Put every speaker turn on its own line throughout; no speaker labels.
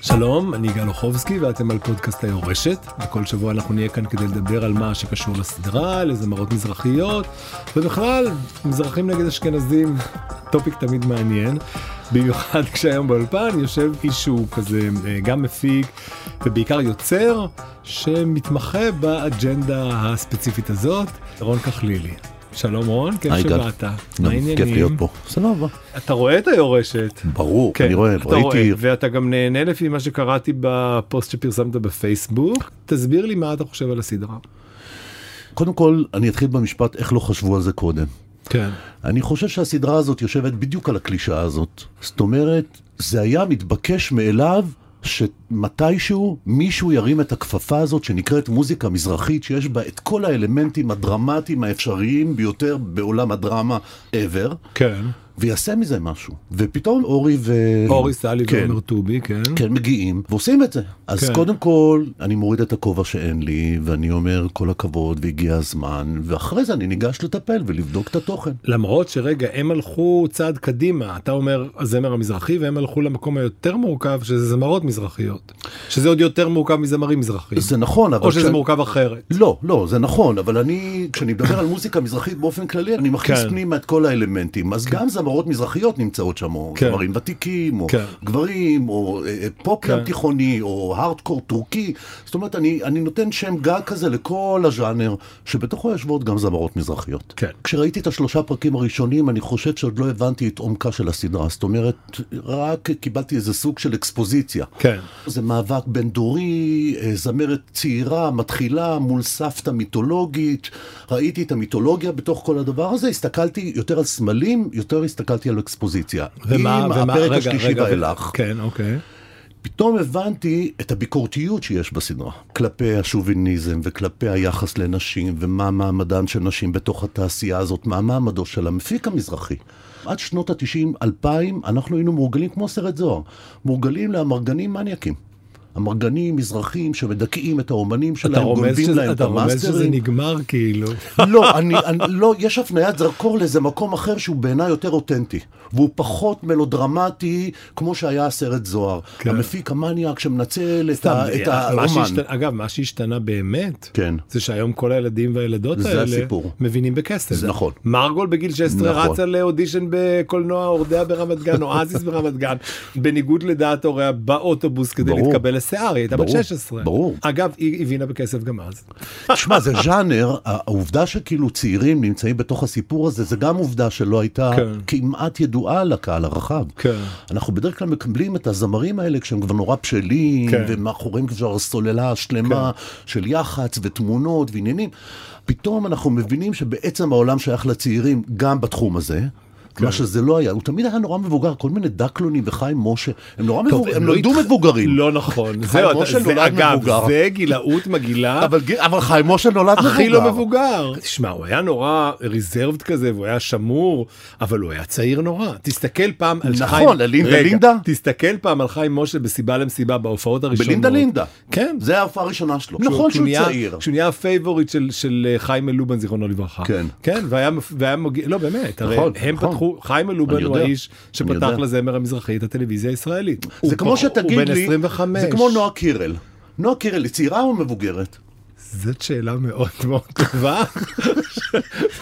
שלום, אני יגאל אוחובסקי ואתם על פודקאסט היורשת. וכל שבוע אנחנו נהיה כאן כדי לדבר על מה שקשור לסדרה, לזמרות מזרחיות, ובכלל, מזרחים נגד אשכנזים, טופיק תמיד מעניין. במיוחד כשהיום באולפן יושב איש שהוא כזה אה, גם מפיק ובעיקר יוצר, שמתמחה באג'נדה הספציפית הזאת, רון כחלילי. שלום רון, כיף
היי, גל.
שבאת. מה
גם כיף להיות
העניינים?
פה. סבבה.
אתה רואה את היורשת.
ברור, אני רואה,
כן, אתה
ראיתי,
רואה, ואתה גם נהנה לפי מה שקראתי בפוסט שפרסמת בפייסבוק. תסביר לי מה אתה חושב על הסדרה.
קודם כל, אני אתחיל במשפט איך לא חשבו על זה קודם.
כן.
אני חושב שהסדרה הזאת יושבת בדיוק על הקלישאה הזאת. זאת אומרת, זה היה מתבקש מאליו שמתישהו מישהו ירים את הכפפה הזאת שנקראת מוזיקה מזרחית, שיש בה את כל האלמנטים הדרמטיים האפשריים ביותר בעולם הדרמה ever,
כן.
ויעשה מזה משהו. ופתאום אורי ו...
אורי סאלי
כן.
ועומר טובי, כן.
כן, מגיעים ועושים את זה. אז
כן.
כן. קודם כל, אני מוריד את הכובע שאין לי, ואני אומר כל הכבוד והגיע הזמן, ואחרי זה אני ניגש לטפל ולבדוק את התוכן.
למרות שרגע הם הלכו צעד קדימה אתה אומר הזמר המזרחי והם הלכו למקום היותר מורכב שזה זמרות מזרחיות שזה עוד יותר מורכב מזמרים מזרחיים
זה נכון, אבל...
או שזה
כשה-
מורכב אחרת.
לא, לא, זה נכון, אבל אני, כשאני מדבר על מוזיקה מזרחית באופן כללי, אני מכניס
כן.
פנימה את כל האלמנטים. אז גם זמרות מזרחיות נמצאות שם, או
כן.
גברים ותיקים, או
כן.
גברים, או אה, אה, פופ
כן.
ים תיכוני, או הארדקור טורקי. זאת אומרת, אני אני נותן שם גג כזה לכל הז'אנר, שבתוכו יושבות גם זמרות מזרחיות.
כן.
כשראיתי את השלושה פרקים הראשונים, אני חושב שעוד לא הבנתי את עומקה של הסדרה. זאת אומרת, רק קיבלתי איזה סוג של אקספוזיציה.
כן.
זה מאבק בין דורי, אה, זמרת צעירה, מתחילה, מול סבתא מיתולוגית. ראיתי את המיתולוגיה בתוך כל הדבר הזה, הסתכלתי יותר על סמלים, יותר הסתכלתי על אקספוזיציה. עם הפרק
רגע,
השלישי
רגע, ו-
ואילך.
כן אוקיי.
פתאום הבנתי את הביקורתיות שיש בסדרה, כלפי השוביניזם וכלפי היחס לנשים ומה מעמדן של נשים בתוך התעשייה הזאת, מה מעמדו של המפיק המזרחי. עד שנות ה-90, 2000, אנחנו היינו מורגלים כמו סרט זוהר, מורגלים לאמרגנים מניאקים. אמרגנים מזרחים שמדכאים את האומנים
אתה
שלהם,
רומז
גונבים
שזה-
להם את
אתה רומז שזה
המאסטרים.
נגמר כאילו.
לא, אני, אני, לא, יש הפניית זרקור לאיזה מקום אחר שהוא בעיניי יותר אותנטי. והוא פחות מלודרמטי, כמו שהיה הסרט זוהר.
כן.
כן. המפיק המניאק שמנצל את,
סתם,
ה, את
אה, מה
האומן.
שהשת- אגב מה שהשתנה באמת
כן.
זה שהיום כל הילדים והילדות
זה
האלה
הסיפור.
מבינים בכסף.
זה נכון.
מרגול בגיל 16
נכון.
רצה לאודישן בקולנוע אורדע ברמת גן, אואזיס ברמת גן, בניגוד לדעת הוריה באוטובוס כדי
ברור.
להתקבל לשיער, היא הייתה בת
ברור,
16.
ברור.
אגב, היא הבינה בכסף גם אז.
תשמע, זה ז'אנר, ה- העובדה שכאילו צעירים נמצאים בתוך הסיפור הזה, זה גם עובדה שלא הייתה
כן.
כמעט ידועה לקהל הרחב.
כן.
אנחנו בדרך כלל מקבלים את הזמרים האלה כשהם כבר נורא בשלים,
כן.
ומאחוריהם כבר סוללה שלמה של יח"צ ותמונות ועניינים. פתאום אנחנו מבינים שבעצם העולם שייך לצעירים גם בתחום הזה.
כן.
מה שזה לא היה, הוא תמיד היה נורא מבוגר, כל מיני דקלונים וחיים משה, הם נורא
טוב,
מבוגרים, הם
לא
נולדו
התח-
מבוגרים.
לא נכון. זהו, אתה-
משה
זה
נולד
אגב,
מבוגר.
זה גילאות מגעילה.
אבל, ג- אבל חיים משה נולד מבוגר.
הכי לא מבוגר. תשמע, הוא היה נורא ריזרבד כזה, והוא היה שמור, אבל הוא היה צעיר נורא. תסתכל פעם על
נכון,
חיים...
על לינדה
רגע,
לינדה.
תסתכל פעם על חיים משה בסיבה למסיבה בהופעות הראשונות.
בלינדה לינדה.
כן.
זה ההופעה הראשונה שלו.
כשהוא-
נכון
כשהוא
שהוא
נהיה-
צעיר.
כשהוא נהיה הפייבוריט של, של אה, חיים אלובן זיכרונו לברכה.
כן.
כן, והיה, מפ- והיה מגיע, לא באמת, הרי
נכון,
הם
נכון.
פתחו, חיים אלובן
אני
הוא
יודע,
האיש
אני
שפתח
יודע.
לזמר המזרחי את הטלוויזיה הישראלית. הוא
זה כמו
פח- הוא
שתגיד
בן
לי,
25.
זה כמו נועה קירל. נועה קירל היא צעירה או מבוגרת?
זאת שאלה מאוד מאוד טובה.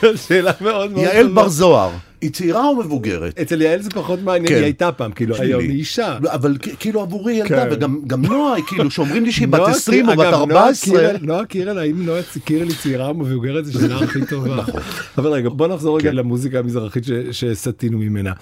זאת שאלה מאוד מאוד טובה.
יעל בר זוהר, היא צעירה או מבוגרת?
אצל יעל זה פחות מעניין,
כן.
היא הייתה פעם, כאילו היום
שלי.
היא אישה.
אבל כ- כאילו עבורי היא ילדה,
כן.
וגם גם נועה היא כאילו, שאומרים לי שהיא בת
נועה
20 או
קיר-
בת
אגב, נועה
14,
קירל- נועה קירל, האם נועה צ- קירל היא צעירה או מבוגרת, זו שאלה הכי טובה.
נכון.
אבל רגע, בוא נחזור רגע למוזיקה המזרחית ש- שסטינו ממנה.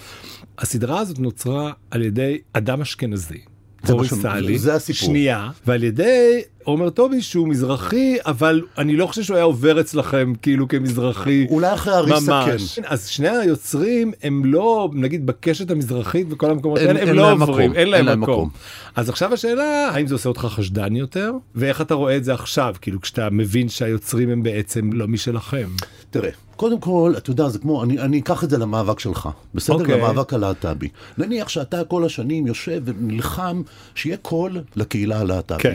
הסדרה הזאת נוצרה על ידי אדם אשכנזי.
זה
אורי
מה ש-
סאלי,
זה הסיפור.
שנייה, ועל ידי עומר טובי שהוא מזרחי, אבל אני לא חושב שהוא היה עובר אצלכם כאילו כמזרחי.
אולי אחרי הריסה כן.
ממש. אז שני היוצרים הם לא, נגיד בקשת המזרחית וכל המקומות
אין-
האלה, הם
אין
לא
להם
עוברים,
מקום,
אין להם מקום. אז עכשיו השאלה, האם זה עושה אותך חשדן יותר? ואיך אתה רואה את זה עכשיו, כאילו כשאתה מבין שהיוצרים הם בעצם לא משלכם?
תראה, קודם כל, אתה יודע, זה כמו, אני, אני אקח את זה למאבק שלך, בסדר?
אוקיי.
Okay. למאבק הלהט"בי. נניח שאתה כל השנים יושב ונלחם שיהיה קול לקהילה הלהט"בית.
כן.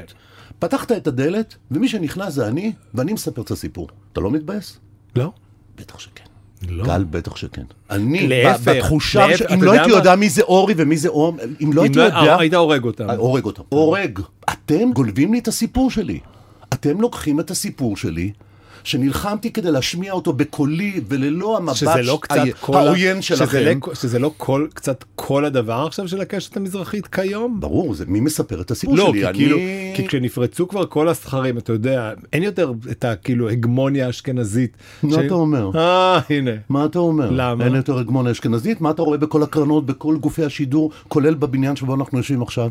פתחת את הדלת, ומי שנכנס זה אני, ואני מספר את הסיפור. אתה לא מתבאס?
לא?
בטח שכן.
לא.
קהל בטח שכן. אני,
להפך,
ב- בתחושה,
להפך,
ש-
אתה
אם לא
יודע
הייתי
מה?
יודע מי זה אורי ומי זה אור, אם לא
אם
הייתי
לא-
יודע,
אה, היית הורג אותם.
הורג אותם. הורג. אתם גונבים לי את הסיפור שלי. אתם לוקחים את הסיפור שלי. שנלחמתי כדי להשמיע אותו בקולי וללא המבט
שזה לא קצת
ה-
כל... ה-
העוין
שזה
שלכם.
לא- שזה לא כל, קצת כל הדבר עכשיו של הקשת המזרחית כיום?
ברור, זה מי מספר את הסיפור
לא,
שלי?
כי
אני-
כאילו, כי כשנפרצו כבר כל הסכרים, אתה יודע, אין יותר את הכאילו הגמוניה האשכנזית.
מה אתה אומר?
אה, הנה.
מה אתה אומר?
למה?
אין יותר הגמוניה אשכנזית? מה אתה רואה בכל הקרנות, בכל גופי השידור, כולל בבניין שבו אנחנו יושבים עכשיו?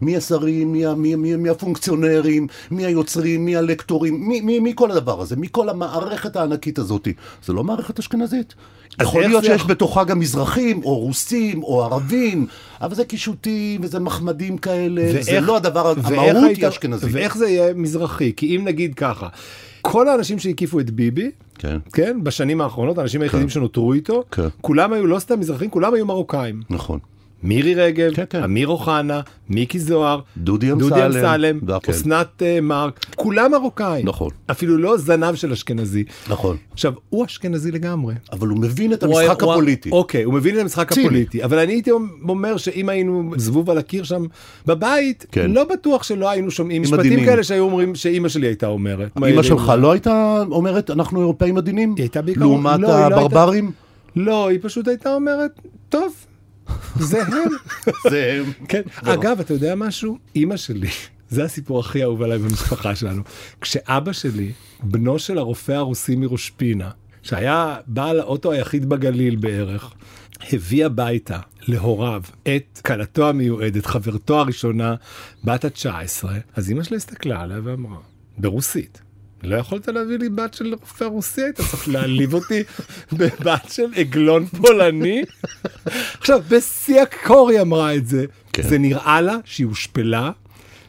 מי השרים, מי, ה- מי, מי, מי הפונקציונרים, מי היוצרים, מי הלקטורים, מי, מי, מי כל הדבר הזה, מי כל המערכת הענקית הזאת. זה לא מערכת אשכנזית. יכול
איך
להיות
זה
שיש
יכול-
בתוכה גם מזרחים, או רוסים, או ערבים, אבל זה קישוטים, וזה מחמדים כאלה, זה
ואיך-
לא הדבר,
ואיך
המהות
היית-
היא אשכנזית.
ואיך זה יהיה מזרחי? כי אם נגיד ככה, כל האנשים שהקיפו את ביבי,
כן,
כן, בשנים האחרונות, האנשים היחידים שנותרו איתו,
כן.
כולם היו לא סתם מזרחים, כולם היו מרוקאים.
נכון.
מירי רגב,
כן, כן.
אמיר אוחנה, מיקי זוהר,
דודי
דודי
אמסלם,
אמסלם,
והכל.
אסנת אה, מארק, כולם מרוקאים.
נכון.
אפילו לא זנב של אשכנזי.
נכון.
עכשיו, הוא אשכנזי לגמרי.
אבל הוא מבין את
הוא-
המשחק
הוא-
הפוליטי.
אוקיי, הוא מבין את המשחק
ציני.
הפוליטי, אבל אני הייתי אומר שאם היינו זבוב על הקיר שם בבית,
כן.
לא בטוח שלא היינו שומעים משפטים
עדינים.
כאלה שהיו אומרים שאימא שלי הייתה אומרת.
אמא שלך לא הייתה אומרת, אנחנו אירופאים עדינים?
אה? היא הייתה בעיקר-
לעומת
לא, היא לא הייתה-
הברברים?
לא, היא פשוט הייתה אומרת, טוב, זה הם.
זה...
כן. אגב, אתה יודע משהו? אימא שלי, זה הסיפור הכי אהוב עליי במשפחה שלנו. כשאבא שלי, בנו של הרופא הרוסי מראש פינה, שהיה בעל האוטו היחיד בגליל בערך, הביא הביתה להוריו את כלתו המיועדת, חברתו הראשונה, בת ה-19, אז אימא שלי הסתכלה עליה ואמרה, ברוסית. לא יכולת להביא לי בת של רופא רוסי, היית צריך להעליב אותי בבת של עגלון פולני? עכשיו, בשיא הקור היא אמרה את זה.
כן.
זה נראה לה שהיא הושפלה,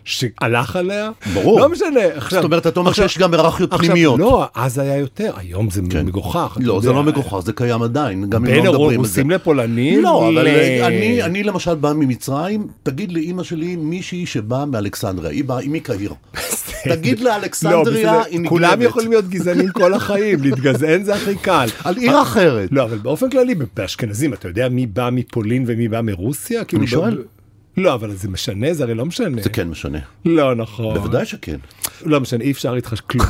שהלך עליה.
ברור.
לא משנה. עכשיו,
זאת אומרת, אתה אומר שיש גם היררכיות
עכשיו,
פנימיות.
לא, אז היה יותר, היום זה
כן.
מגוחך. אתה
לא, זה
יודע.
לא מגוחך, זה קיים עדיין, גם אם
בין
לא מדברים על זה.
הרוסים לפולנים? אה,
לא, אבל
ל-
אני- אני למשל בא ממצרים, תגיד לאימא שלי מישהי שבאה מאלכסנדריה, היא באה, היא מקהיר.
בסדר.
תגיד לה,
לא,
אלכסנדריה
בסדר.
היא נגנבת.
כולם יכולים להיות גזענים כל החיים, להתגזען זה הכי קל.
על עיר אחרת.
לא, אבל באופן כללי, באשכנזים, אתה יודע מי בא מפולין ומי בא מרוסיה? כאילו,
שואל.
ב- לא, אבל זה משנה, זה הרי לא משנה.
זה כן משנה,
לא נכון.
בוודאי שכן.
לא משנה, אי אפשר איתך כלום.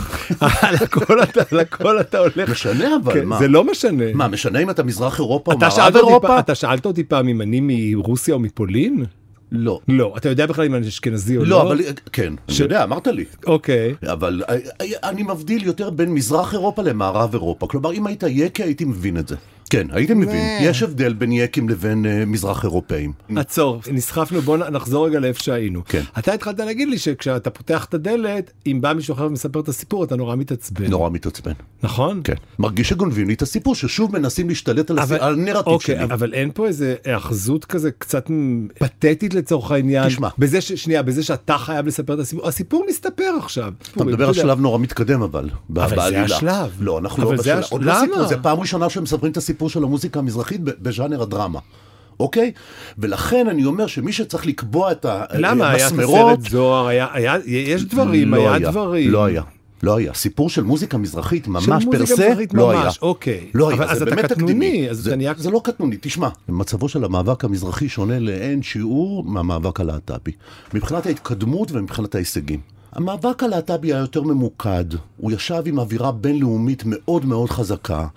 על הכל אתה, על הכל אתה הולך.
משנה אבל,
כן,
מה?
זה לא משנה.
מה, משנה אם אתה מזרח אירופה או
אתה
מערב
שאלת, אותי,
אירופה?
פ- אתה שאלת אותי פעם אם אני מרוסיה או מפולין?
לא.
לא. אתה יודע בכלל אם אני אשכנזי או לא?
לא, אבל כן, אני
ש-
יודע, אמרת לי.
אוקיי.
אבל אה, אה, אני מבדיל יותר בין מזרח אירופה למערב אירופה. כלומר, אם היית יקי, הייתי מבין את זה. כן, הייתי מבין. יש הבדל בין יקים לבין אה, מזרח אירופאים.
עצור, נסחפנו, בוא נחזור רגע לאיפה שהיינו.
Mm. כן.
אתה התחלת להגיד לי שכשאתה פותח את הדלת, אם בא מישהו אחר ומספר את הסיפור, אתה נורא מתעצבן.
נורא מתעצבן.
נכון?
לא. כן. מרגיש שגונבים לי את הסיפור, ששוב מנסים להשתלט על הס- על הנרטיב
אוקיי,
שלי.
אבל אין פה איזה היאחזות כזה קצת מ- פתטית לצורך העניין.
תשמע.
בזה ש... שנייה, בזה שאתה חייב לספר את הסיפור, הסיפור מסתפר עכשיו.
אתה מדבר על שלב נורא מתקדם אבל, ב-
אבל זה
בעלילה.
השלב.
לא, אנחנו לא
אבל זה
בשלב.
הש-
עוד לא
למה?
סיפור, זה פעם ראשונה שמספרים את הסיפור של המוזיקה המזרחית ב- בז'אנר הדרמה. אוקיי? ולכן אני אומר שמי שצריך לקבוע את ה- אה,
למה? היה את
המסמרות,
הסרט זוהר, היה, היה, יש דברים,
לא
היה, דברים.
לא היה. לא היה. סיפור של מוזיקה מזרחית
של
ממש
מוזיקה
פרסה,
מזרחית
לא
ממש,
היה.
אוקיי.
לא
אבל
היה,
אז
זה
אתה
באמת
קטנוני,
תקדימי.
אז
זה-
אתה נהיה-
זה לא קטנוני, תשמע. מצבו של המאבק המזרחי שונה לאין שיעור מהמאבק הלהט"בי. מבחינת ההתקדמות ומבחינת ההישגים. המאבק הלהט"בי היה יותר ממוקד, הוא ישב עם אווירה בינלאומית מאוד מאוד חזקה.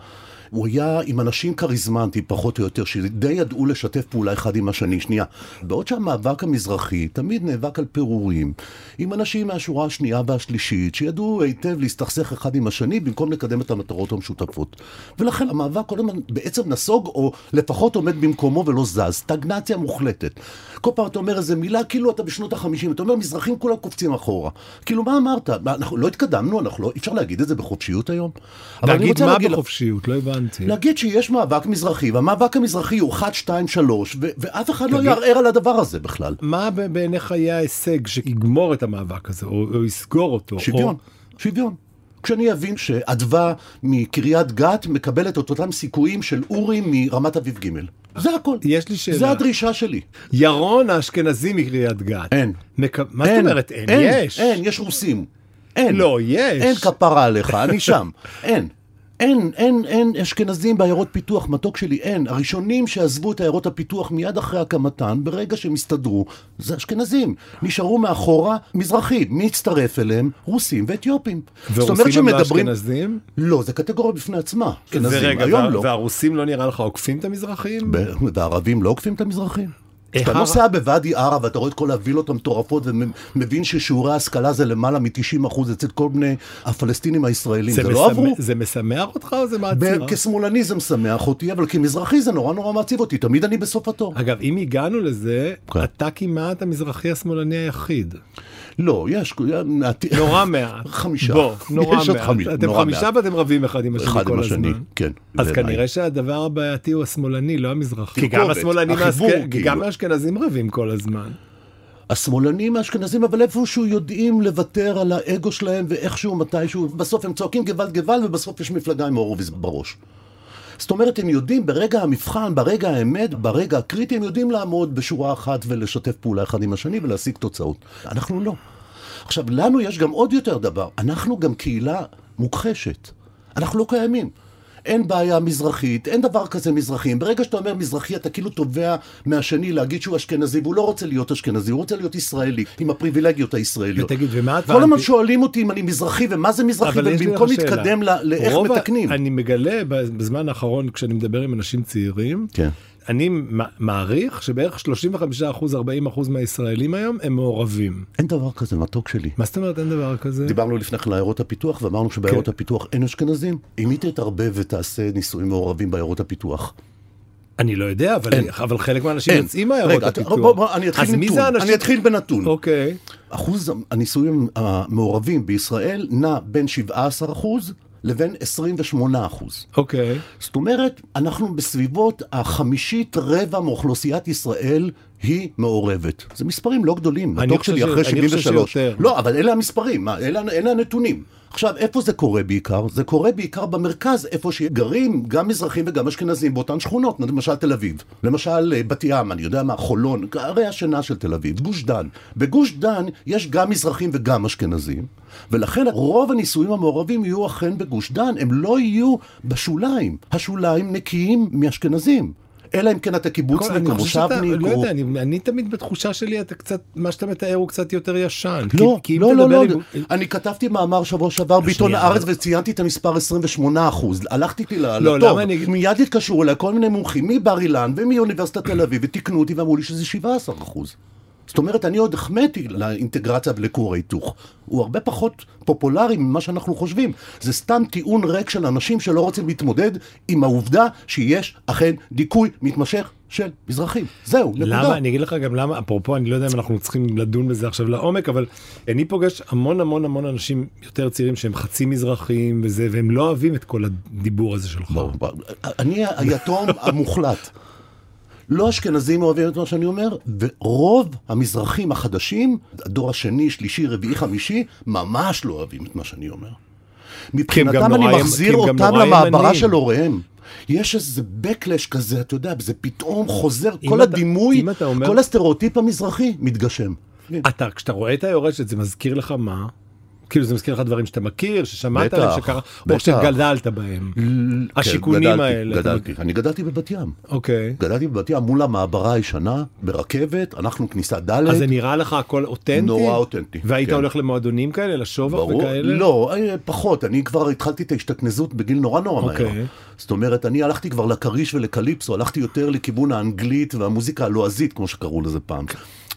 הוא היה עם אנשים כריזמנטיים, פחות או יותר, שדי ידעו לשתף פעולה אחד עם השני. שנייה, בעוד שהמאבק המזרחי תמיד נאבק על פירורים, עם אנשים מהשורה השנייה והשלישית, שידעו היטב להסתכסך אחד עם השני במקום לקדם את המטרות המשותפות. ולכן המאבק כל הזמן בעצם נסוג, או לפחות עומד במקומו ולא זז. סטגנציה מוחלטת. כל פעם אתה אומר איזה מילה, כאילו אתה בשנות החמישים, אתה אומר, מזרחים כולם קופצים אחורה. כאילו, מה אמרת? מה, אנחנו לא התקדמנו, אנחנו לא, אי אפשר להגיד את זה בחופשיות היום? אבל אני
להגיד
רוצה
מה
להגיד לך-
בחופשיות, לא הבנתי.
להגיד שיש מאבק מזרחי, והמאבק המזרחי הוא 1, 2, 3, ו- ואף אחד לא יערער על הדבר הזה בכלל.
מה ב- בעיניך יהיה ההישג שיגמור את המאבק הזה, או, או יסגור אותו?
שוויון,
או...
שוויון. כשאני אבין שאדווה מקריית גת מקבלת את אותם סיכויים של אורי מרמת אביב ג'. זה הכל.
יש לי שאלה.
זה הדרישה שלי.
ירון האשכנזי מקריית גת.
אין.
מק... מה זאת אומרת אין? יש.
אין, יש רוסים. אין.
לא, יש.
אין כפרה עליך, אני שם. אין. אין, אין, אין אשכנזים בעיירות פיתוח, מתוק שלי, אין. הראשונים שעזבו את עיירות הפיתוח מיד אחרי הקמתן, ברגע שהם הסתדרו, זה אשכנזים. נשארו מאחורה מזרחים. מי הצטרף אליהם? רוסים ואתיופים. זאת אומרת
ורוסים הם לא
שמדברים-
אשכנזים?
לא, זה קטגוריה בפני עצמה. אשכנזים,
ורגע,
היום
כן, וה-
לא.
והרוסים לא נראה לך עוקפים את המזרחים?
ב- והערבים לא עוקפים את המזרחים.
איך
כשאתה
הר-
נוסע בוואדי ערה ואתה רואה את כל הווילות המטורפות ומבין ששיעורי ההשכלה זה למעלה מ-90 אחוז אצל כל בני הפלסטינים הישראלים, זה, לא
משמח-
עברו?
זה משמח אותך או זה מעציר?
ב- כשמאלני זה משמח אותי, אבל כמזרחי זה נורא נורא מעציב אותי, תמיד אני בסוף התור.
אגב, אם הגענו לזה,
כן.
אתה כמעט המזרחי השמאלני היחיד.
לא, יש,
נורא מעט.
חמישה.
בוא, נורא
יש עוד
מעט.
חמיש-
אתם
נורא
חמישה
מעט.
ואתם רבים אחד עם השני
אחד עם
כל
השני,
הזמן.
כן.
אז
בעיניי.
כנראה שהדבר הבעייתי הוא השמאלני, לא המזרחי. כי גם
תרכובת,
השמאלנים,
כאילו, החיבור,
האשכ-
כאילו.
גם האשכנזים רבים כל הזמן.
השמאלנים האשכנזים, אבל איפשהו יודעים לוותר על האגו שלהם ואיכשהו, מתישהו, בסוף הם צועקים גוואלד גוואלד ובסוף יש מפלגה עם הורוביץ בראש. זאת אומרת, הם יודעים ברגע המבחן, ברגע האמת, ברגע הקריטי, הם יודעים לעמוד בשורה אחת ולשתף פעולה אחד עם השני ולהשיג תוצאות. אנחנו לא. עכשיו, לנו יש גם עוד יותר דבר, אנחנו גם קהילה מוכחשת. אנחנו לא קיימים. אין בעיה מזרחית, אין דבר כזה מזרחים. ברגע שאתה אומר מזרחי, אתה כאילו תובע מהשני להגיד שהוא אשכנזי, והוא לא רוצה להיות אשכנזי, הוא רוצה להיות ישראלי, עם הפריבילגיות הישראליות.
ותגיד, ומה את...
כל הזמן שואלים אותי אם אני מזרחי ומה זה מזרחי,
אבל יש לי
ובמקום
לך שאלה.
להתקדם ל- לאיך
רוב ה-
מתקנים.
אני מגלה בזמן האחרון, כשאני מדבר עם אנשים צעירים,
כן.
אני מ- מעריך שבערך 35%-40% מהישראלים היום הם מעורבים.
אין דבר כזה מתוק שלי.
מה זאת אומרת אין דבר כזה?
דיברנו לפני כן על עיירות הפיתוח, ואמרנו שבעיירות
כן.
הפיתוח אין אשכנזים. אם היא תתערבב ותעשה נישואים מעורבים בעיירות הפיתוח.
אני לא יודע, אבל- אבל חלק מהאנשים
אין.
יוצאים מהעיירות
רגע,
הפיתוח.
בוא, בוא, אני אתחיל
אז מי
נתון.
זה האנשים?
אני אתחיל בנתון.
אוקיי.
אחוז הנישואים המעורבים בישראל נע בין 17% לבין 28%.
אוקיי.
זאת אומרת, אנחנו בסביבות החמישית רבע מאוכלוסיית ישראל היא מעורבת. זה מספרים לא גדולים,
אני
בדוק
חושב
שלי
ש-
אחרי
אני חושב
73.
שיותר.
לא, אבל אלה המספרים, מה, אלה, אלה הנתונים. עכשיו, איפה זה קורה בעיקר? זה קורה בעיקר במרכז, איפה שגרים גם מזרחים וגם אשכנזים באותן שכונות, למשל תל אביב, למשל אה, בת ים, אני יודע מה, חולון, ערי השינה של תל אביב, גוש דן. בגוש דן יש גם מזרחים וגם אשכנזים, ולכן רוב הנישואים המעורבים יהיו אכן בגוש דן, הם לא יהיו בשוליים. השוליים נקיים מאשכנזים. אלא אם כן אתה
כל- אני
קיבוצניק או
חושב שאתה-
מושבניק
לא
או
יודע, אני- אני תמיד בתחושה שלי, אתה קצת, מה שאתה מתאר הוא קצת יותר ישן. כי-
לא,
כי אם
לא, לא,
תדבר
לא,
עם-
אני כתבתי מאמר שבוע שעבר בעיתון
שנייה,
הארץ
אבל-
וציינתי את המספר 28 אחוז, הלכתי איתי ל-
לא,
לטוב,
למה אני-
מיד התקשרו אליי כל מיני מומחים מבר אילן ומאוניברסיטת תל אביב ותיקנו אותי ואמרו לי שזה 17 אחוז. זאת אומרת, אני עוד החמאתי לאינטגרציה ולכור ההיתוך. הוא הרבה פחות פופולרי ממה שאנחנו חושבים. זה סתם טיעון ריק של אנשים שלא רוצים להתמודד עם העובדה שיש אכן דיכוי מתמשך של מזרחים. זהו, נקודה.
למה אני אגיד לך גם למה אפרופו אני לא יודע אם אנחנו צריכים לדון בזה עכשיו לעומק אבל אני פוגש המון המון המון אנשים יותר צעירים שהם חצי מזרחיים וזה והם לא אוהבים את כל הדיבור הזה שלך.
ברור, ברור. אני היתום המוחלט. לא אשכנזים אוהבים את מה שאני אומר, ורוב המזרחים החדשים, הדור השני, שלישי, רביעי, חמישי, ממש לא אוהבים את מה שאני אומר. מבחינתם
נורא
אני
ימ- כי
מחזיר
הם גם
אותם
נורא
למעברה
ימנים.
של הוריהם. יש איזה backlash כזה, אתה יודע, זה פתאום חוזר,
אם אתה-
כל הדימוי,
אם אתה אומר-
כל הסטריאוטיפ המזרחי מתגשם. כן.
אתה כשאתה רואה את היורשת זה מזכיר לך מה? כאילו זה מזכיר לך דברים שאתה מכיר ששמעת
בטח,
עליהם שקרה או
בטח.
שגדלת בהם. השיכונים
כן, גדלתי,
האלה.
גדלתי, אני גדלתי בבת ים.
אוקיי.
גדלתי בבת ים מול המעברה הישנה, ברכבת, אנחנו כניסה ד',
אז זה נראה לך הכל אותנטי?
נורא אותנטי,
והיית
כן.
הולך למועדונים כאלה לשובח וכאלה?
לא, אה, פחות, אני כבר התחלתי את ההשתכנזות בגיל נורא נורא מהר.
אוקיי.
זאת אומרת, אני הלכתי כבר לכריש ולקליפסו, הלכתי יותר לכיוון האנגלית והמוזיקה הלועזית, כמו שקראו לזה פעם.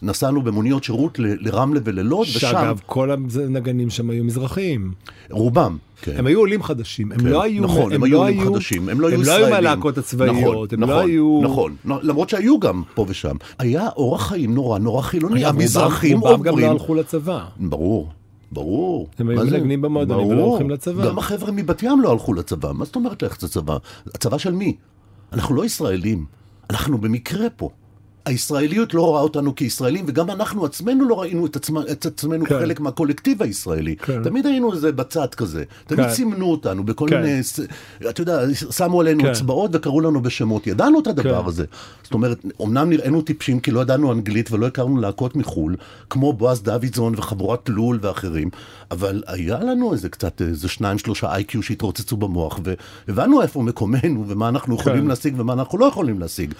נסענו במוניות שירות ל- לרמלה וללוד, ושם,
שאגב כל הנגנים שם היו מזרחים.
רובם. כן.
הם היו עולים חדשים, הם
כן,
לא היו,
נכון, הם היו
לא
עולים חדשים, הם לא היו
הם
ישראלים.
לא היו מהלהקות הצבאיות,
נכון,
הם לא
נכון,
היו,
נכון, נכון, למרות שהיו גם פה ושם. היה אורח חיים נורא נורא חילוני,
אגב, רובם-
המזרחים
רובם גם לא
עוברים
הלכו לצבא.
ברור, ברור.
הם היו
מה זה?
מנגנים במועדונים ולא
ברור.
הולכים לצבא.
גם החבר'ה מבת ים לא הלכו לצבא, מה זאת אומרת ללכת לצבא? הצבא של מי? אנחנו לא ישראלים, אנחנו במקרה פה. הישראליות לא רואה אותנו כישראלים, וגם אנחנו עצמנו לא ראינו את, עצמ, את עצמנו
כן.
כן. חלק מהקולקטיב הישראלי.
כן.
כן. תמיד היינו איזה בצד כזה. תמיד
כן.
כן. סימנו אותנו בכל
כן.
כן. מיני, ס- אתה יודע, שמו עלינו
כן.
אצבעות וקראו לנו בשמות. ידענו את הדבר
כן.
כן. הזה. זאת אומרת, אמנם נראינו טיפשים כי לא ידענו אנגלית ולא הכרנו להקות מחו"ל, כמו בועז דוידזון וחבורת לול ואחרים, אבל היה לנו איזה קצת, איזה שניים שלושה איי-קיו שהתרוצצו במוח, והבנו איפה מקומנו ומה אנחנו יכולים
כן.
להשיג ומה אנחנו לא יכולים להשיג.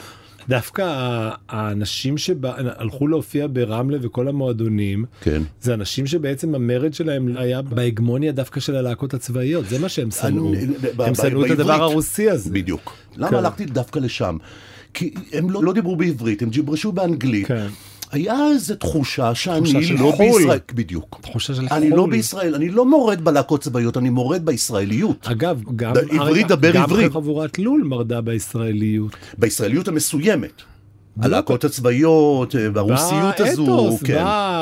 דווקא ה- האנשים שהלכו להופיע ברמלה וכל המועדונים,
כן.
זה אנשים שבעצם המרד שלהם היה בהגמוניה דווקא של הלהקות הצבאיות, זה מה שהם שנאו.
אני- ב-
הם
ב-
שנאו את
בעברית.
הדבר הרוסי הזה.
בדיוק.
כן.
למה הלכתי דווקא לשם? כי הם לא לא דיברו בעברית, הם ג'יברשו באנגלית.
כן.
היה איזו תחושה שאני
של
לא
חו"ל.
בישראל, בדיוק.
תחושה של
אני
חו"ל.
לא בישראל, אני לא מורד בלהקות צבאיות, אני מורד בישראליות.
אגב, גם,
ד- עברית, דבר
גם
עברית.
חבורת לול מרדה בישראליות.
בישראליות המסוימת. הלהקות הצבאיות, הרוסיות הזו,
באתוס,
כן,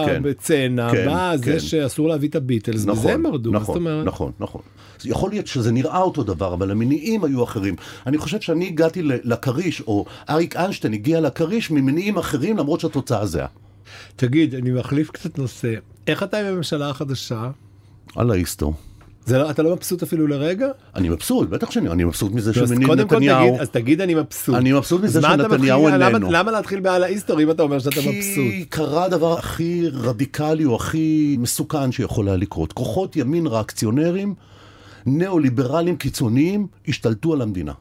כן.
בצנע,
כן,
בזה
כן.
שאסור להביא את הביטלס,
נכון,
בזה הם מרדו, מה זאת
נכון,
אומרת?
נכון, נכון. אז יכול להיות שזה נראה אותו דבר, אבל המניעים היו אחרים. אני חושב שאני הגעתי ל- לכריש, או אריק איינשטיין הגיע לכריש ממניעים אחרים, למרות שהתוצאה זהה.
תגיד, אני מחליף קצת נושא, איך אתה עם הממשלה החדשה?
אללה יסתור.
זה לא, אתה לא מבסוט אפילו לרגע?
אני מבסוט, בטח שאני, אני מבסוט מזה
אז
שמניעים
קודם כל
נתניהו.
תגיד, אז תגיד אני מבסוט.
אני מבסוט
אז
מזה
מה אתה
שנתניהו
מתחיל- למה-
איננו.
למה להתחיל בעל ההיסטור אם אתה אומר שאתה מבסוט?
כי קרה הדבר הכי רדיקלי או הכי מסוכן שיכול היה לקרות. כוחות ימין ריאקציונרים, ניאו-ליברלים קיצוניים, השתלטו על המדינה.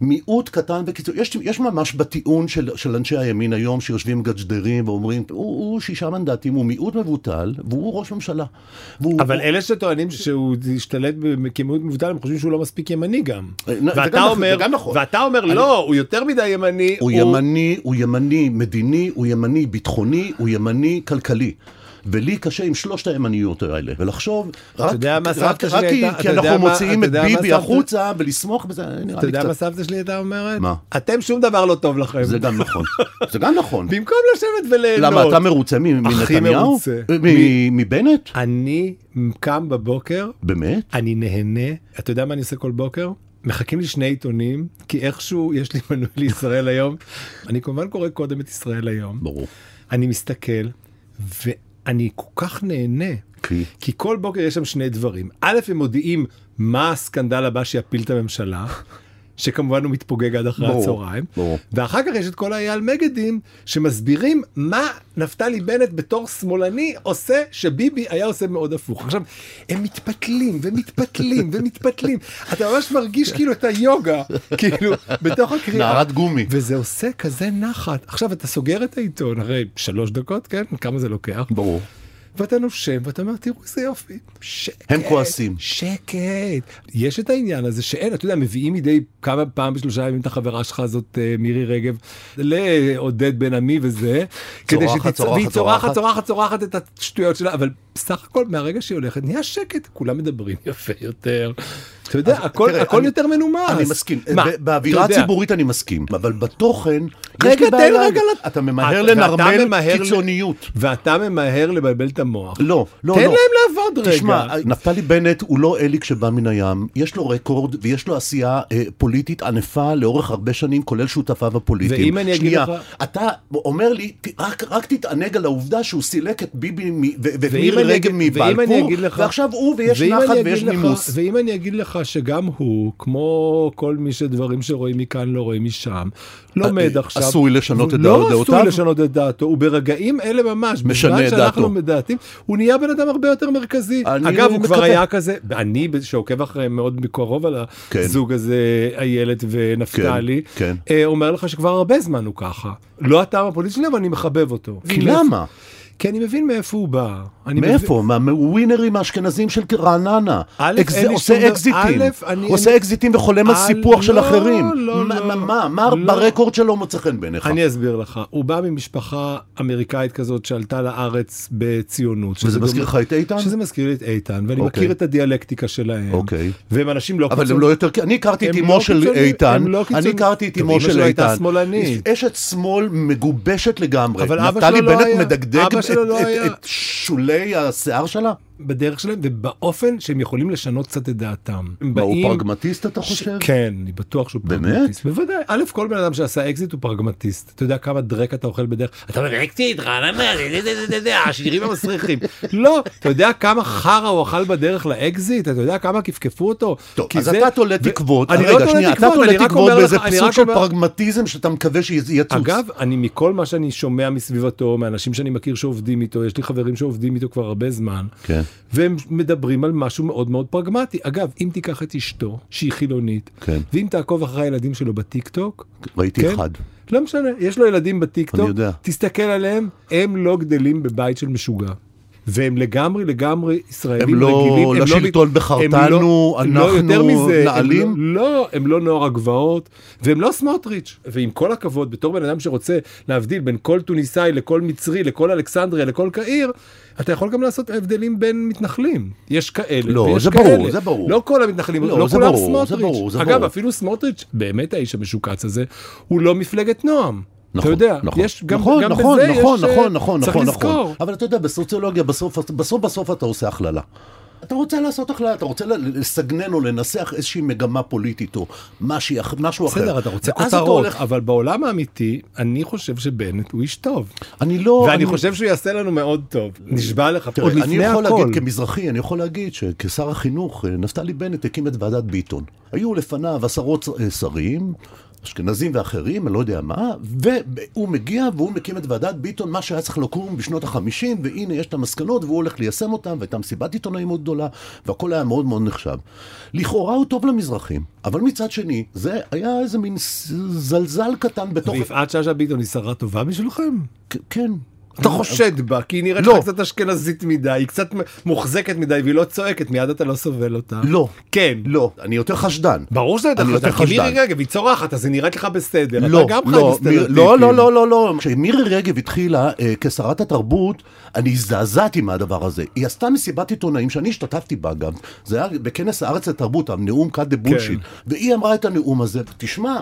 מיעוט קטן וקיצוני, יש, יש ממש בטיעון של, של אנשי הימין היום שיושבים גג'דרים ואומרים, הוא, הוא שישה מנדטים, הוא מיעוט מבוטל והוא ראש ממשלה. והוא,
אבל אלה שטוענים שהוא השתלט ב- כמיעוט מבוטל הם חושבים שהוא לא מספיק ימני גם.
אה, נ- זה גם
ואתה
נכון,
אומר,
זה גם נכון.
ואתה אומר לא, הוא יותר מדי ימני.
הוא ימני, הוא ימני מדיני, הוא ימני ביטחוני, הוא ימני כלכלי. ולי קשה עם שלושת הימניות האלה, ולחשוב, רק,
יודע מה
רק,
סבתא
רק
שלי
כי,
הייתה- אתה
כי
יודע
אנחנו
מה-
מוציאים
אתה
את
יודע מה
ביבי
סבתא-
החוצה, ולסמוך בזה, אה, נראה
אתה
לי
יודע מה
קצת,
סבתא שלי הייתה אומרת?
מה?
אתם שום דבר לא טוב לכם.
זה גם נכון, זה גם נכון.
במקום לשבת וליהנות.
למה, אתה מרוצה מ-
הכי
מנתניהו?
מרוצה.
מ- מבנט?
אני קם בבוקר,
באמת?
אני נהנה, אתה יודע מה אני עושה כל בוקר? מחכים לי שני עיתונים, כי איכשהו יש לי מנוי לישראל היום. אני כמובן קורא קודם את ישראל היום.
ברור.
אני מסתכל, ואני כל כך נהנה.
כי?
כי כל בוקר יש שם שני דברים. א', הם מודיעים מה הסקנדל הבא שיפיל את הממשלה, שכמובן הוא מתפוגג עד אחרי
ברור,
הצהריים.
ברור.
ואחר כך יש את כל האייל מגדים, שמסבירים מה נפתלי בנט בתור שמאלני עושה, שביבי היה עושה מאוד הפוך. עכשיו, הם מתפתלים ומתפתלים ומתפתלים. אתה ממש מרגיש כאילו את היוגה, כאילו, בתוך הקריאה.
נערת גומי.
וזה עושה כזה נחת. עכשיו, אתה סוגר את העיתון, הרי שלוש דקות, כן? כמה זה לוקח?
ברור.
ואתה נושם ואתה אומר תראו איזה יופי. שקט.
הם כועסים.
שקט. יש את העניין הזה שאין, אתה יודע, מביאים מדי כמה פעם בשלושה ימים את החברה שלך הזאת אה, מירי רגב לעודד בן עמי וזה.
צורחת,
שתצ-
צורחת,
והיא צורחת,
צורחת.
צורחת, צורחת את השטויות שלה, אבל סך הכל מהרגע שהיא הולכת נהיה שקט, כולם מדברים יפה יותר. אתה יודע, הכל
תראה,
הכל
אני-
יותר מנומס.
אני מסכים,
מה,
ב- באווירה
אתה יודע,
הציבורית אני מסכים, אבל בתוכן, יש
רגע,
לי
תן
בעיה.
רגע, לת-
אתה ממהר
ואתה
לנרמל
ממהר ל-
קיצוניות.
ואתה ממהר לבלבל את המוח.
לא, לא,
תן
לא.
להם לעבוד רגע.
תשמע, נפתלי בנט הוא לא אליק שבא מן הים, יש לו רקורד ויש לו עשייה אה, פוליטית ענפה לאורך הרבה שנים, כולל שותפיו הפוליטיים.
ואם אני אגיד
שנייה,
לך-
אתה אומר לי, ת- רק, רק תתענג על העובדה שהוא סילק את ביבי מ- ו- ואת
ואם
מירי
אני
רגב
אגיד- ואם אני
מבלפור,
אגיד לך-
ועכשיו הוא ויש
ואם
נחת
אני אגיד
ויש
לך-
נימוס.
ואם אני אגיד לך שגם הוא, כמו כל מי שדברים שרואים מכאן לא רואים משם, לומד
אה,
עכשיו.
עשוי לשנות את
לא
דעותיו?
עשוי לשנות את דעתו, הוא ברגעים אלה ממש,
משנה
בזמן
את
שאנחנו
דעתו.
מדעתים, הוא נהיה בן אדם הרבה יותר מרכזי.
אני
אגב, הוא כבר
מקווה.
היה כזה, אני שעוקב אחריהם מאוד מקרוב על
כן.
הזוג הזה, איילת ונפתלי,
כן,
אה, אומר לך שכבר הרבה זמן הוא ככה. לא הטעם הפוליטי שלי, אבל אני מחבב אותו.
כי למה?
כי אני מבין מאיפה הוא בא. אני מבין-
מאיפה? מה- מהווינרים האשכנזים של רעננה.
א',
אקז-
אין לי שום
עושה
דבר-
אקזיטים.
א', אני-
עושה אקזיטים וחולם על
אל-
סיפוח של
לא,
אחרים.
לא,
מה-
לא.
מה- מה מה
לא.
ברקורד שלו מוצא חן בעיניך?
אני אסביר לך, הוא בא ממשפחה אמריקאית כזאת שעלתה לארץ בציונות. שזה
וזה מזכיר
דומה-
לך את איתן?
שזה מזכיר לי את איתן, ואני
אוקיי.
מכיר את הדיאלקטיקה שלהם.
אוקיי.
והם אנשים לא
אבל
קיצוניים.
הם לא יותר, אני הכרתי את
הם
אמו
לא
של
קיצוניים,
איתן,
הם לא
אני
קיצוניים.
הכרתי את
טוב,
אמו
אמא
של
שלו הייתה
איתן.
שמאלנית.
אשת שמאל מגובשת לגמרי.
אבל אבא
נפתלי
שלו לא היה-
בנט מדגדג
אבא
את-
שלו לא
את-
היה.
את שולי השיער שלה?
בדרך שלהם ובאופן שהם יכולים לשנות קצת את דעתם. הם
מה, הוא
באים-
פרגמטיסט אתה חושב?
ש... כן, אני בטוח שהוא
באמת?
פרגמטיסט. בוודאי. א', כל בן אדם שעשה אקזיט הוא פרגמטיסט. אתה יודע כמה דרק אתה אוכל בדרך? אתה אומר אקזיט, רעננה, זה, זה, זה, זה, זה, השירים המסריחים. לא, אתה יודע כמה חרא הוא אכל בדרך לאקזיט? אתה יודע כמה כפכפו אותו?
טוב,
כי
אז
זה-
אתה תולה
ו-
תקוות,
אני לא
רגע,
תולה
שנייה, אתה
תקוות, אני
תולה
רק
תקוות
אומר
באיזה
לך- אני
פסוק
רק
של
אומר-
פרגמטיזם שאתה מקווה שיצוץ.
אגב, אני מכל מה שאני שומע מסביבתו, מאנשים שאני מכיר שעובדים איתו, יש לי חברים שעובדים איתו כבר הרבה זמן,
כן.
והם מדברים על משהו מאוד מאוד פרגמטי. אגב, אם תיקח את אשתו, שהיא חילונית,
כן.
ואם תעקוב אחרי הילדים שלו בטיקטוק,
ראיתי אחד.
לא משנה, יש לו ילדים בטיקטוק,
אני יודע.
תסתכל עליהם, הם לא גדלים בבית של משוגע. והם לגמרי לגמרי ישראלים
הם לא-
רגילים,
לשלטון
מת-
בחרתנו,
הם לא
אנחנו
יותר מזה,
נעלים?
הם לא, לא, הם לא נוער הגבעות, והם לא סמוטריץ'. ועם כל הכבוד, בתור בן אדם שרוצה להבדיל בין כל טוניסאי לכל מצרי, לכל אלכסנדריה, לכל קהיר, אתה יכול גם לעשות הבדלים בין מתנחלים. יש כאלה
לא,
ויש
זה
כאלה.
ברור, זה ברור.
לא כל המתנחלים,
לא,
לא,
זה
כולם
ברור, זה
סמוטריץ'.
ברור, זה
אגב,
ברור.
אפילו סמוטריץ', באמת האיש המשוקץ הזה, הוא לא מפלגת נועם.
נכון,
אתה יודע,
נכון,
יש, גם,
נכון,
גם
נכון,
בזה
נכון,
יש, אה,
נכון, נכון,
צריך
נכון,
לזכור.
נכון. אבל אתה יודע, בסוציולוגיה בסוף, בסוף בסוף אתה עושה הכללה. אתה רוצה לעשות הכללה, אתה רוצה ל- לסגנן או לנסח איזושהי מגמה פוליטית או משהו אח- משהו אחר.
בסדר, אתה רוצה
ואז
כותרות,
הולך-
אבל בעולם האמיתי, אני חושב שבנט הוא איש טוב.
אני לא...
ואני
אני-
חושב שהוא יעשה לנו מאוד טוב. נשבע לך,
תראה,
עוד
אני
לפני
יכול
הכל.
להגיד כמזרחי, אני יכול להגיד שכשר החינוך, אה, נפתלי בנט הקים את ועדת ביטון. היו לפניו עשרות ש- אה, שרים, אשכנזים ואחרים, אני לא יודע מה, והוא מגיע והוא מקים את ועדת ביטון, מה שהיה צריך לקום בשנות החמישים, והנה יש את המסקנות והוא הולך ליישם אותן, והייתה מסיבת עיתונאים מאוד גדולה, והכל היה מאוד מאוד נחשב. לכאורה הוא טוב למזרחים, אבל מצד שני, זה היה איזה מין ס- זלזל קטן בתוך...
ויפעת שאשא ביטון היא שרה טובה בשבילכם?
כ- כן.
אתה חושד בה, כי היא נראית
לא.
לך קצת אשכנזית מדי, היא קצת מוחזקת מדי והיא לא צועקת, מיד אתה לא סובל אותה.
לא.
כן.
לא, אני יותר חשדן.
ברור שזה
אני
דרך
יותר
כי
חשדן.
מירי רגב היא צורחת, אז היא נראית לך בסדר.
לא,
אתה גם חי
לא, מיר-
בסטריאוטיפים.
לא, לא, לא, לא, לא. כשמירי רגב התחילה אה, כשרת התרבות, אני הזדעזעתי מהדבר הזה. היא עשתה מסיבת עיתונאים שאני השתתפתי בה גם. זה היה בכנס הארץ לתרבות, הנאום קאט דה
כן.
בולשיט. והיא אמרה את הנאום הזה, תשמע,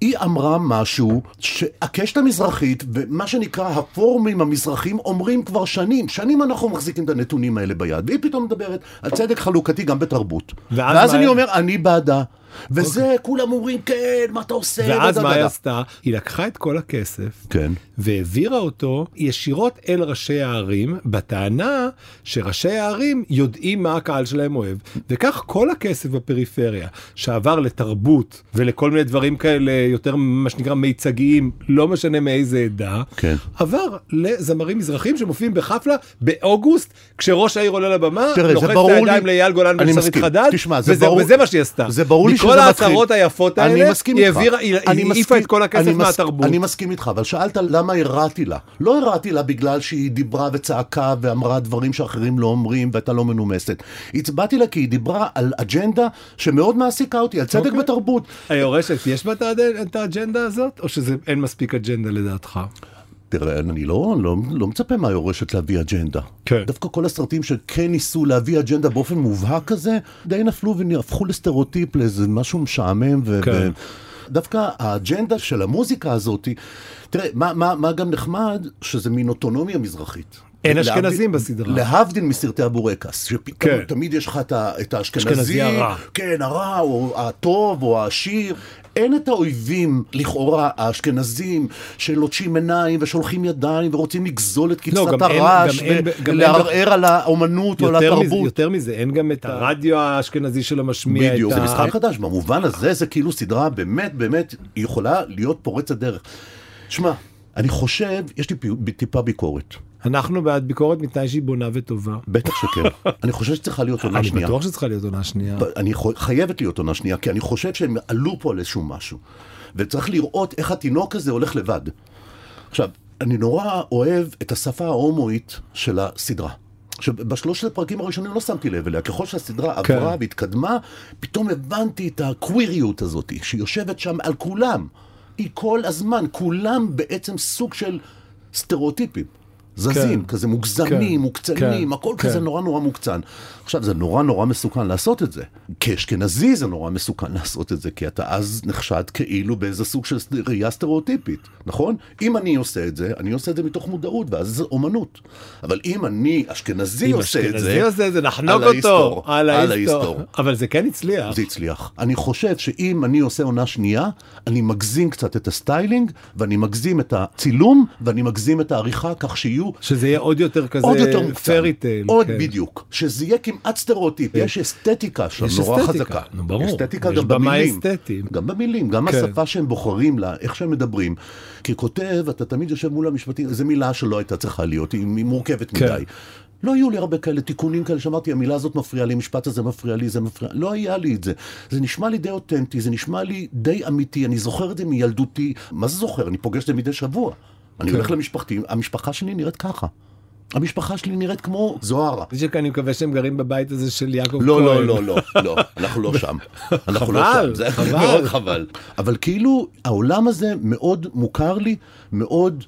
היא אמרה משהו שהקשת המזרחית, ומה שנקרא הפורומים המזרחים אומרים כבר שנים, שנים אנחנו מחזיקים את הנתונים האלה ביד, והיא פתאום מדברת על צדק חלוקתי גם בתרבות.
ואז
ואז, ואז
מה- אוקיי.
אני אומר, אני בעדה. וזה, כולם אומרים, כן, מה אתה עושה?
ואז מה
ודדדדה."
היא עשתה? היא לקחה את כל הכסף,
כן.
והעבירה אותו ישירות אל ראשי הערים, בטענה שראשי הערים יודעים מה הקהל שלהם אוהב. וכך כל הכסף בפריפריה, שעבר לתרבות ולכל מיני דברים כאלה, יותר מה שנקרא מיצגיים, לא משנה מאיזה עדה,
כן.
עבר לזמרים מזרחים שמופיעים בחפלה באוגוסט, כשראש העיר עולה לבמה,
תראה, זה
לוחץ את
ברור לי-
הידיים לאייל גולן
אני
ולשרית
מסכים.
חדד,
תשמע, זה
וזה,
ברור-
וזה מה שהיא עשתה.
זה ברור לי
מכל
שזה
ההצהרות
מתחיל-
היפות
אני
האלה,
מסכים
היא
איתך.
העבירה, היא
אני
היא העיפה
מסכים-
את כל הכסף
אני מס-
מהתרבות.
אני מסכים איתך, אבל שאלת למה הרעתי לה. לא הרעתי לה בגלל שהיא דיברה וצעקה ואמרה דברים שאחרים לא אומרים והייתה לא מנומסת. הצבעתי לה כי היא דיברה על אג'נדה שמאוד מעסיקה אותי, על צדק
אוקיי.
בתרבות.
היורשת, יש בה את האד- את האג'נדה הזאת, או שזה אין מספיק אג'נדה לדעתך?
תראה, אני לא, לא, לא מצפה מהיורשת להביא אג'נדה.
כן.
דווקא כל הסרטים שכן ניסו להביא אג'נדה באופן מובהק כזה, די נפלו והפכו לסטריאוטיפ, לאיזה משהו משעמם. ו-
כן.
ו- דווקא האג'נדה של המוזיקה הזאת, תראה, מה, מה, מה גם נחמד, שזה מין אוטונומיה מזרחית.
אין
להבדיל-
אשכנזים בסדרה.
להבדיל מסרטי הבורקס, שפתאום
כן.
כן. תמיד יש לך את, ה- את
אשכנזי
האשכנזי,
הרע.
כן, הרע, או הטוב, או העשיר. אין את האויבים, לכאורה, האשכנזים, שלוטשים עיניים ושולחים ידיים ורוצים לגזול את
לא,
קצבת
גם אין-
הרעש
גם אין- גם אין-
ולערער על האומנות או על
יותר מזה,
התרבות.
יותר מזה, אין גם את הרדיו האשכנזי שלא משמיע את ה...
בדיוק, זה משחק חדש, במובן הזה זה כאילו סדרה באמת באמת היא יכולה להיות פורצת דרך. שמע, אני חושב, יש לי פי- טיפה ביקורת,
אנחנו בעד ביקורת מתנאי שהיא בונה וטובה.
בטח שכן. אני חושב שצריכה להיות עונה
אני
שנייה.
בטוח שצריכה להיות עונה שנייה.
אני חו- חייבת להיות עונה שנייה, כי אני חושב שהם עלו פה על איזשהו משהו. וצריך לראות איך התינוק הזה הולך לבד. עכשיו, אני נורא אוהב את השפה ההומואית של הסדרה. שבשלושת הפרקים הראשונים לא שמתי לב אליה, ככל שהסדרה
כן.
עברה והתקדמה, פתאום הבנתי את הקוויריות הזאת, שיושבת שם על כולם. היא כל הזמן, כולם בעצם סוג של סטריאוטיפים. זזים,
כן.
כזה מוגזמים,
כן.
מוקצנים,
כן.
הכל כזה
כן.
נורא נורא מוקצן. עכשיו, זה נורא נורא מסוכן לעשות את זה. כאשכנזי זה נורא מסוכן לעשות את זה, כי אתה אז נחשד כאילו באיזה סוג של סט- ראייה סטריאוטיפית, נכון? אם אני עושה את זה, אני עושה את זה מתוך מודעות, ואז זה אומנות. אבל אם אני אשכנזי
אם
עושה את
אשכנזי
זה,
עושה את זה, נחנוק
על ההיסטור,
אותו.
על
ההיסטור.
ההיסטור.
אבל זה כן הצליח.
זה הצליח. אני חושב שאם אני עושה עונה שנייה, אני מגזים קצת את הסטיילינג, ואני מגזים את הצילום, ואני מגזים את העריכה, כך שיהיו
שזה יהיה עוד יותר כזה
עוד יותר מוקצן.
fairy tale,
עוד
כן.
בדיוק. שזה יהיה כמעט סטריאוטיפ. יש אסתטיקה שם
יש
נורא
אסתטיקה,
חזקה.
נו, ברור.
אסתטיקה
יש
גם
במאי
במילים.
אסתטיים.
גם במילים, גם
כן.
השפה שהם בוחרים לה, איך שהם מדברים. ככותב, אתה תמיד יושב מול המשפטים, זו מילה שלא הייתה צריכה להיות, היא היא מורכבת
כן.
מדי. לא היו לי הרבה כאלה תיקונים כאלה שאמרתי, המילה הזאת מפריעה לי, המשפט הזה מפריע לי, זה מפריע, לא היה לי את זה. זה נשמע לי די אותנטי, זה נשמע לי די אמיתי, אני זוכר את זה מילדותי. מה זה זוכר? אני פוגש את זה מדי שבוע. אני
כן.
הולך למשפחתי, המשפחה שלי נראית ככה. המשפחה שלי נראית כמו זוהרה.
זה שאני מקווה שהם גרים בבית הזה של יעקב כהן.
לא, לא, לא, לא, לא, אנחנו לא שם. אנחנו לא
חבל,
שם, זה
חבל.
מאוד חבל. אבל כאילו, העולם הזה מאוד מוכר לי, מאוד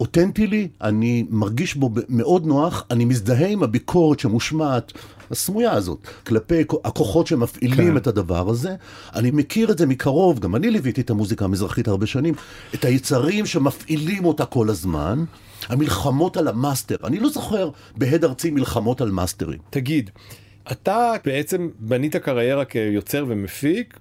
אותנטי לי, אני מרגיש בו ב- מאוד נוח, אני מזדהה עם הביקורת שמושמעת, הסמויה הזאת, כלפי כ- הכוחות שמפעילים
כן.
את הדבר הזה. אני מכיר את זה מקרוב, גם אני ליוויתי את המוזיקה המזרחית הרבה שנים, את היצרים שמפעילים אותה כל הזמן. המלחמות על המאסטר, אני לא זוכר בהד ארצי מלחמות על מאסטרים.
תגיד, אתה בעצם בנית קריירה כיוצר ומפיק,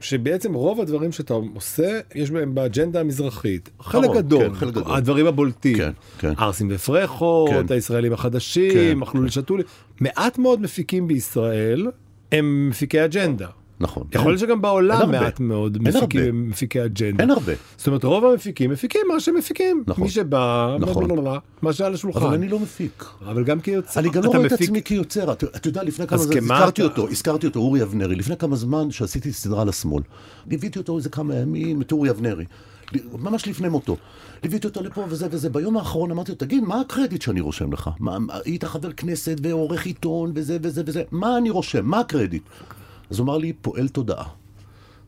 שבעצם רוב הדברים שאתה עושה, יש בהם באג'נדה המזרחית. חלק
הרוב,
גדול,
כן, חלק גדול.
הדברים הבולטים.
כן, כן.
ערסים ופרחות,
כן.
הישראלים החדשים,
כן,
אכלו לי שתו לי. מעט מאוד מפיקים בישראל הם מפיקי אג'נדה.
נכון.
יכול להיות שגם
אין
בעולם
הרבה.
מעט מאוד
אין הרבה.
מפיקים, מפיקי אג'נדה.
אין הרבה.
זאת אומרת, רוב המפיקים מפיקים מה שמפיקים.
נכון.
מי שבא,
נכון.
בלבלבלה, מה שעל השולחן.
אבל אני לא מפיק.
אבל גם כיוצר.
אני גם לא
נכון. אתה
רואה את
מפיק-
עצמי כיוצר. אתה אתה יודע, לפני כמה
אז
זמן,
כמה
הזכרתי
אתה-
אותו, הזכרתי אותו, אורי אבנרי, לפני כמה זמן שעשיתי סדרה לשמאל. ליוויתי אותו איזה כמה ימים, את אורי אבנרי. ל- ממש לפני מותו. ליוויתי אותו לפה וזה וזה. ביום האחרון אמרתי לו, תגיד, מה הקרדיט שאני רושם לך? מה- מה- היית חבר כנסת ועורך עיתון וזה וזה וזה, מה אני רושם? מה הקרדיט? אז הוא אמר לי, פועל תודעה.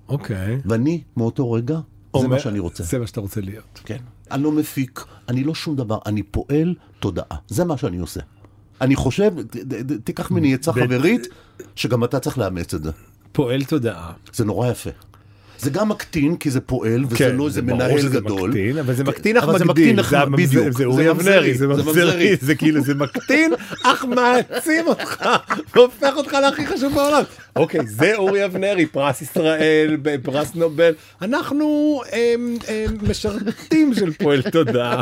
אוקיי.
ואני, מאותו רגע, זה
אומר-
מה שאני רוצה.
זה מה שאתה רוצה להיות.
כן. אני לא מפיק, אני לא שום דבר, אני פועל תודעה. זה מה שאני עושה. אני חושב, ת- ת- ת- תיקח ממני עצה חברית, שגם אתה צריך לאמץ את זה.
פועל תודעה.
זה נורא יפה. זה גם מקטין, כי זה פועל, וזה
כן,
לא איזה
זה ברור
מנהל
שזה
גדול.
מקטין, אבל זה
כן,
מקטין אך
אבל זה
מגדיל.
מקטין אך-
המ-
בדיוק.
זה אורי אבנרי, זה ממזרי, זה כאילו, זה מקטין אך מעצים אותך, והופך אותך להכי חשוב בעולם. אוקיי, זה אורי אבנרי, פרס ישראל, ב- פרס נובל. אנחנו אמ, אמ, משרתים של פועל תודעה.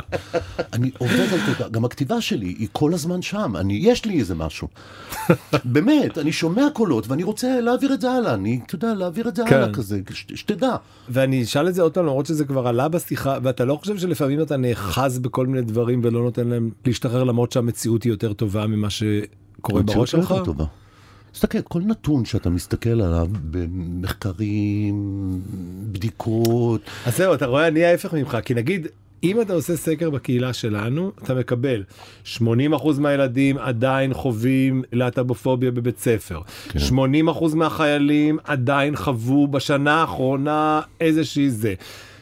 אני עובד על תודה, גם הכתיבה שלי היא כל הזמן שם, אני, יש לי איזה משהו. באמת, אני שומע קולות ואני רוצה להעביר את זה הלאה, אני, אתה יודע, להעביר את זה
כן.
הלאה כזה, ש- שתדע.
ואני אשאל את זה עוד פעם, למרות שזה כבר עלה בשיחה, ואתה לא חושב שלפעמים אתה נאחז בכל מיני דברים ולא נותן להם להשתחרר, למרות שהמציאות היא יותר טובה ממה שקורה
המציאות
בראש
שלך
שלך?
היא טובה. תסתכל, כל נתון שאתה מסתכל עליו במחקרים, בדיקות,
אז זהו, אתה רואה, אני ההפך ממך, כי נגיד, אם אתה עושה סקר בקהילה שלנו, אתה מקבל 80% מהילדים עדיין חווים להט"בופוביה בבית ספר. כן. 80% מהחיילים עדיין חוו בשנה האחרונה איזושהי זה.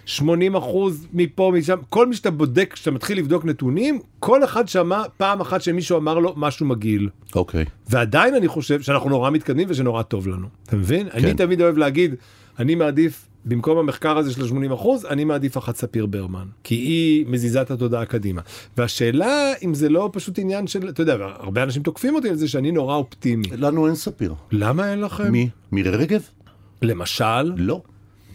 80 אחוז מפה משם כל מי שאתה בודק כשאתה מתחיל לבדוק נתונים כל אחד שמע פעם אחת שמישהו אמר לו משהו מגעיל
אוקיי.
ועדיין אני חושב שאנחנו נורא מתקדמים ושנורא טוב לנו. אתה מבין? כן. אני תמיד אוהב להגיד, אני מעדיף, במקום המחקר הזה של ה-80 אחוז, אני מעדיף אחת ספיר ברמן. כי היא מזיזה את התודעה קדימה. והשאלה אם זה לא פשוט עניין של, אתה יודע, הרבה אנשים תוקפים אותי על זה שאני נורא אופטימי.
לנו אין ספיר.
למה אין לכם?
מי? מירי רגב?
למשל,
לא.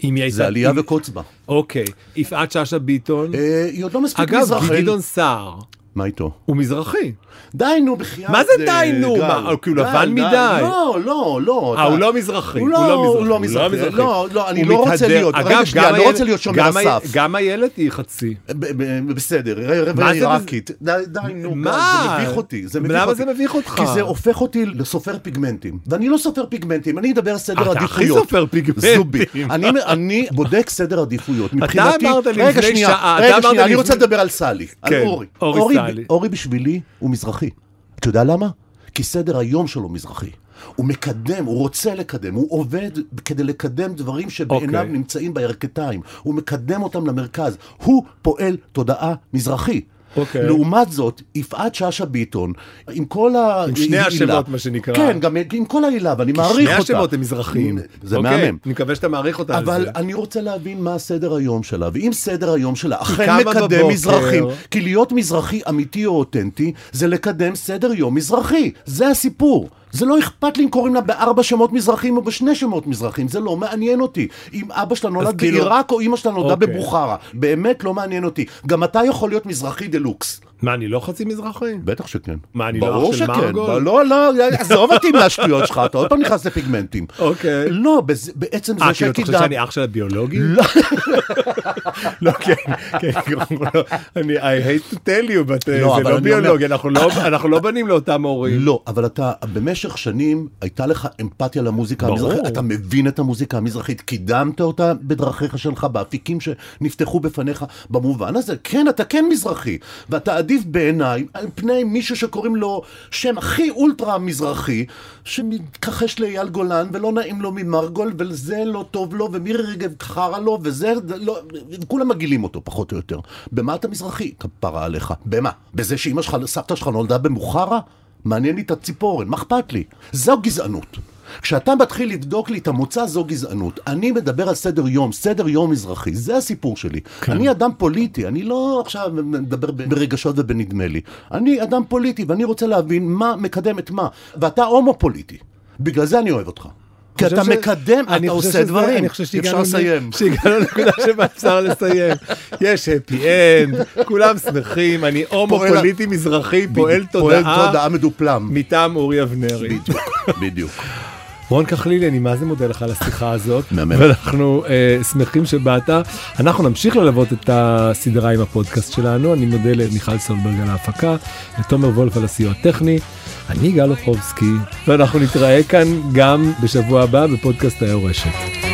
אם היא הייתה...
זה עלייה
אם-
וקוץ בה.
אוקיי, יפעת שאשא ביטון.
אה, היא עוד לא מספיק
אגב,
מזרחית.
גדעון סער
מה איתו?
הוא מזרחי.
די נו בחייאת.
מה זה
אה,
די נו?
גל.
מה, הוא כאילו
די,
לבן
די.
מדי?
לא, לא, לא.
אה, הוא
אתה-
לא מזרחי.
הוא לא- הוא לא מזרחי. לא, לא, אני לא רוצה להיות. רגע, שנייה, אני לא רוצה להיות שומר סף.
גם איילת היא חצי.
ב- ב- בסדר, ר- רבע
מה זה
עיראקית. די, די, נו,
מה?
גל, זה מביך אותי. זה מביך
למה
אותי.
זה מביך אותך?
כי זה הופך אותי לסופר פיגמנטים. ואני לא סופר פיגמנטים, אני אדבר סדר
אתה
עדיפויות.
הכי סופר פיגמנטים.
זובי. אני, אני בודק סדר עדיפויות. מבחינתי...
אמרת לפני
רגע, שנייה,
שעה, אתה
רגע,
אמרת
שנייה, אני
לפני-
רוצה לדבר על סלי. על
כן,
אורי.
אורי סלי.
אורי בשבילי הוא מזרחי. אתה יודע למה? כי סדר היום שלו מזרחי. הוא מקדם, הוא רוצה לקדם, הוא עובד כדי לקדם דברים שבעיניו
אוקיי.
נמצאים בירכתיים. הוא מקדם אותם למרכז. הוא פועל תודעה מזרחי.
אוקיי.
לעומת זאת, יפעת שאשא ביטון, עם כל ה...
עם שני
הילה-
השמות, מה שנקרא.
כן, גם עם כל ההילה, ואני מעריך אותה.
שני השמות הם מזרחיים.
זה
אוקיי,
מהמם.
אני מקווה שאתה מעריך אותה על
אבל
זה.
אני רוצה להבין מה סדר היום שלה, ואם סדר היום שלה אכן
קמה
מקדם
בבוקר.
מזרחים, כי להיות מזרחי אמיתי או אותנטי, זה לקדם סדר יום מזרחי. זה הסיפור. זה לא אכפת לי אם קוראים לה בארבע שמות מזרחים או בשני שמות מזרחים, זה לא מעניין אותי. אם אבא שלה נולד
כאילו-
בעיראק או אמא שלה נולדה
אוקיי.
בבוכרה, באמת לא מעניין אותי. גם אתה יכול להיות מזרחי דה לוקס.
מה, אני לא חצי מזרחי?
בטח שכן.
מה, אני לא
ברור
אח של
שכן.
מרגול?
ב- לא, לא, עזוב אותי מהשטויות שלך, אתה עוד פעם נכנס לפיגמנטים.
אוקיי.
לא, בזה- בעצם
אה,
זה
כאילו, אתה חושב
שקידמת...
שאני אח של הביולוגי? לא. לא, כן, כן, לא, אני, I hate to tell you, but
לא,
uh, זה
אבל
לא
אני אומר-
ביולוגי, אנחנו לא- אנחנו לא בנים לאותם הורים.
לא, אבל אתה, במשך שנים הייתה לך אמפתיה למוזיקה
ברור.
המזרחית, אתה מבין את המוזיקה המזרחית, קידמת אותה בדרכיך שלך, באפיקים שנפתחו בפניך, במובן הזה, כן, אתה כן מזרחי, ואתה עדיף בעיניי על פני מישהו שקוראים לו שם הכי אולטרה מזרחי, שמתכחש לאייל גולן, ולא נעים לו ממרגול, וזה לא טוב לו, ומירי רגב חרא לו, וזה, זה לא, כולם מגעילים אותו, פחות או יותר. במה אתה מזרחי? כפרה עליך. במה? בזה שאימא שלך, סבתא שלך נולדה במוחרה? מעניין לי את הציפורן, מה אכפת לי? זו גזענות. כשאתה מתחיל לבדוק לי את המוצא, זו גזענות. אני מדבר על סדר יום, סדר יום אזרחי, זה הסיפור שלי. כן. אני אדם פוליטי, אני לא עכשיו מדבר ב- ברגשות ובנדמה לי. אני אדם פוליטי, ואני רוצה להבין מה מקדם את מה. ואתה הומו פוליטי, בגלל זה אני אוהב אותך. כי
חושב
אתה
ש-
מקדם,
אני
אתה
חושב
עושה
שזה-
דברים.
אני חושב שהגענו ל-
אפשר לסיים.
שהגענו לנקודה שבה אפשר לסיים. יש happy end, כולם שמחים, אני הומו
פועל-
פוליטי מזרחי, פועל
פועל
תודעה
תודעה מדופלם.
מטעם אורי אבנרי.
בדיוק, בדיוק.
רון כחלילי, אני מה זה מודה לך על השיחה הזאת,
מהמם.
ואנחנו אה, שמחים שבאת. אנחנו נמשיך ללוות את הסדרה עם הפודקאסט שלנו. אני מודה למיכל סולברג על ההפקה, לתומר וולף על הסיוע הטכני, אני גל אוחובסקי, ואנחנו נתראה כאן גם בשבוע הבא בפודקאסט היורשת.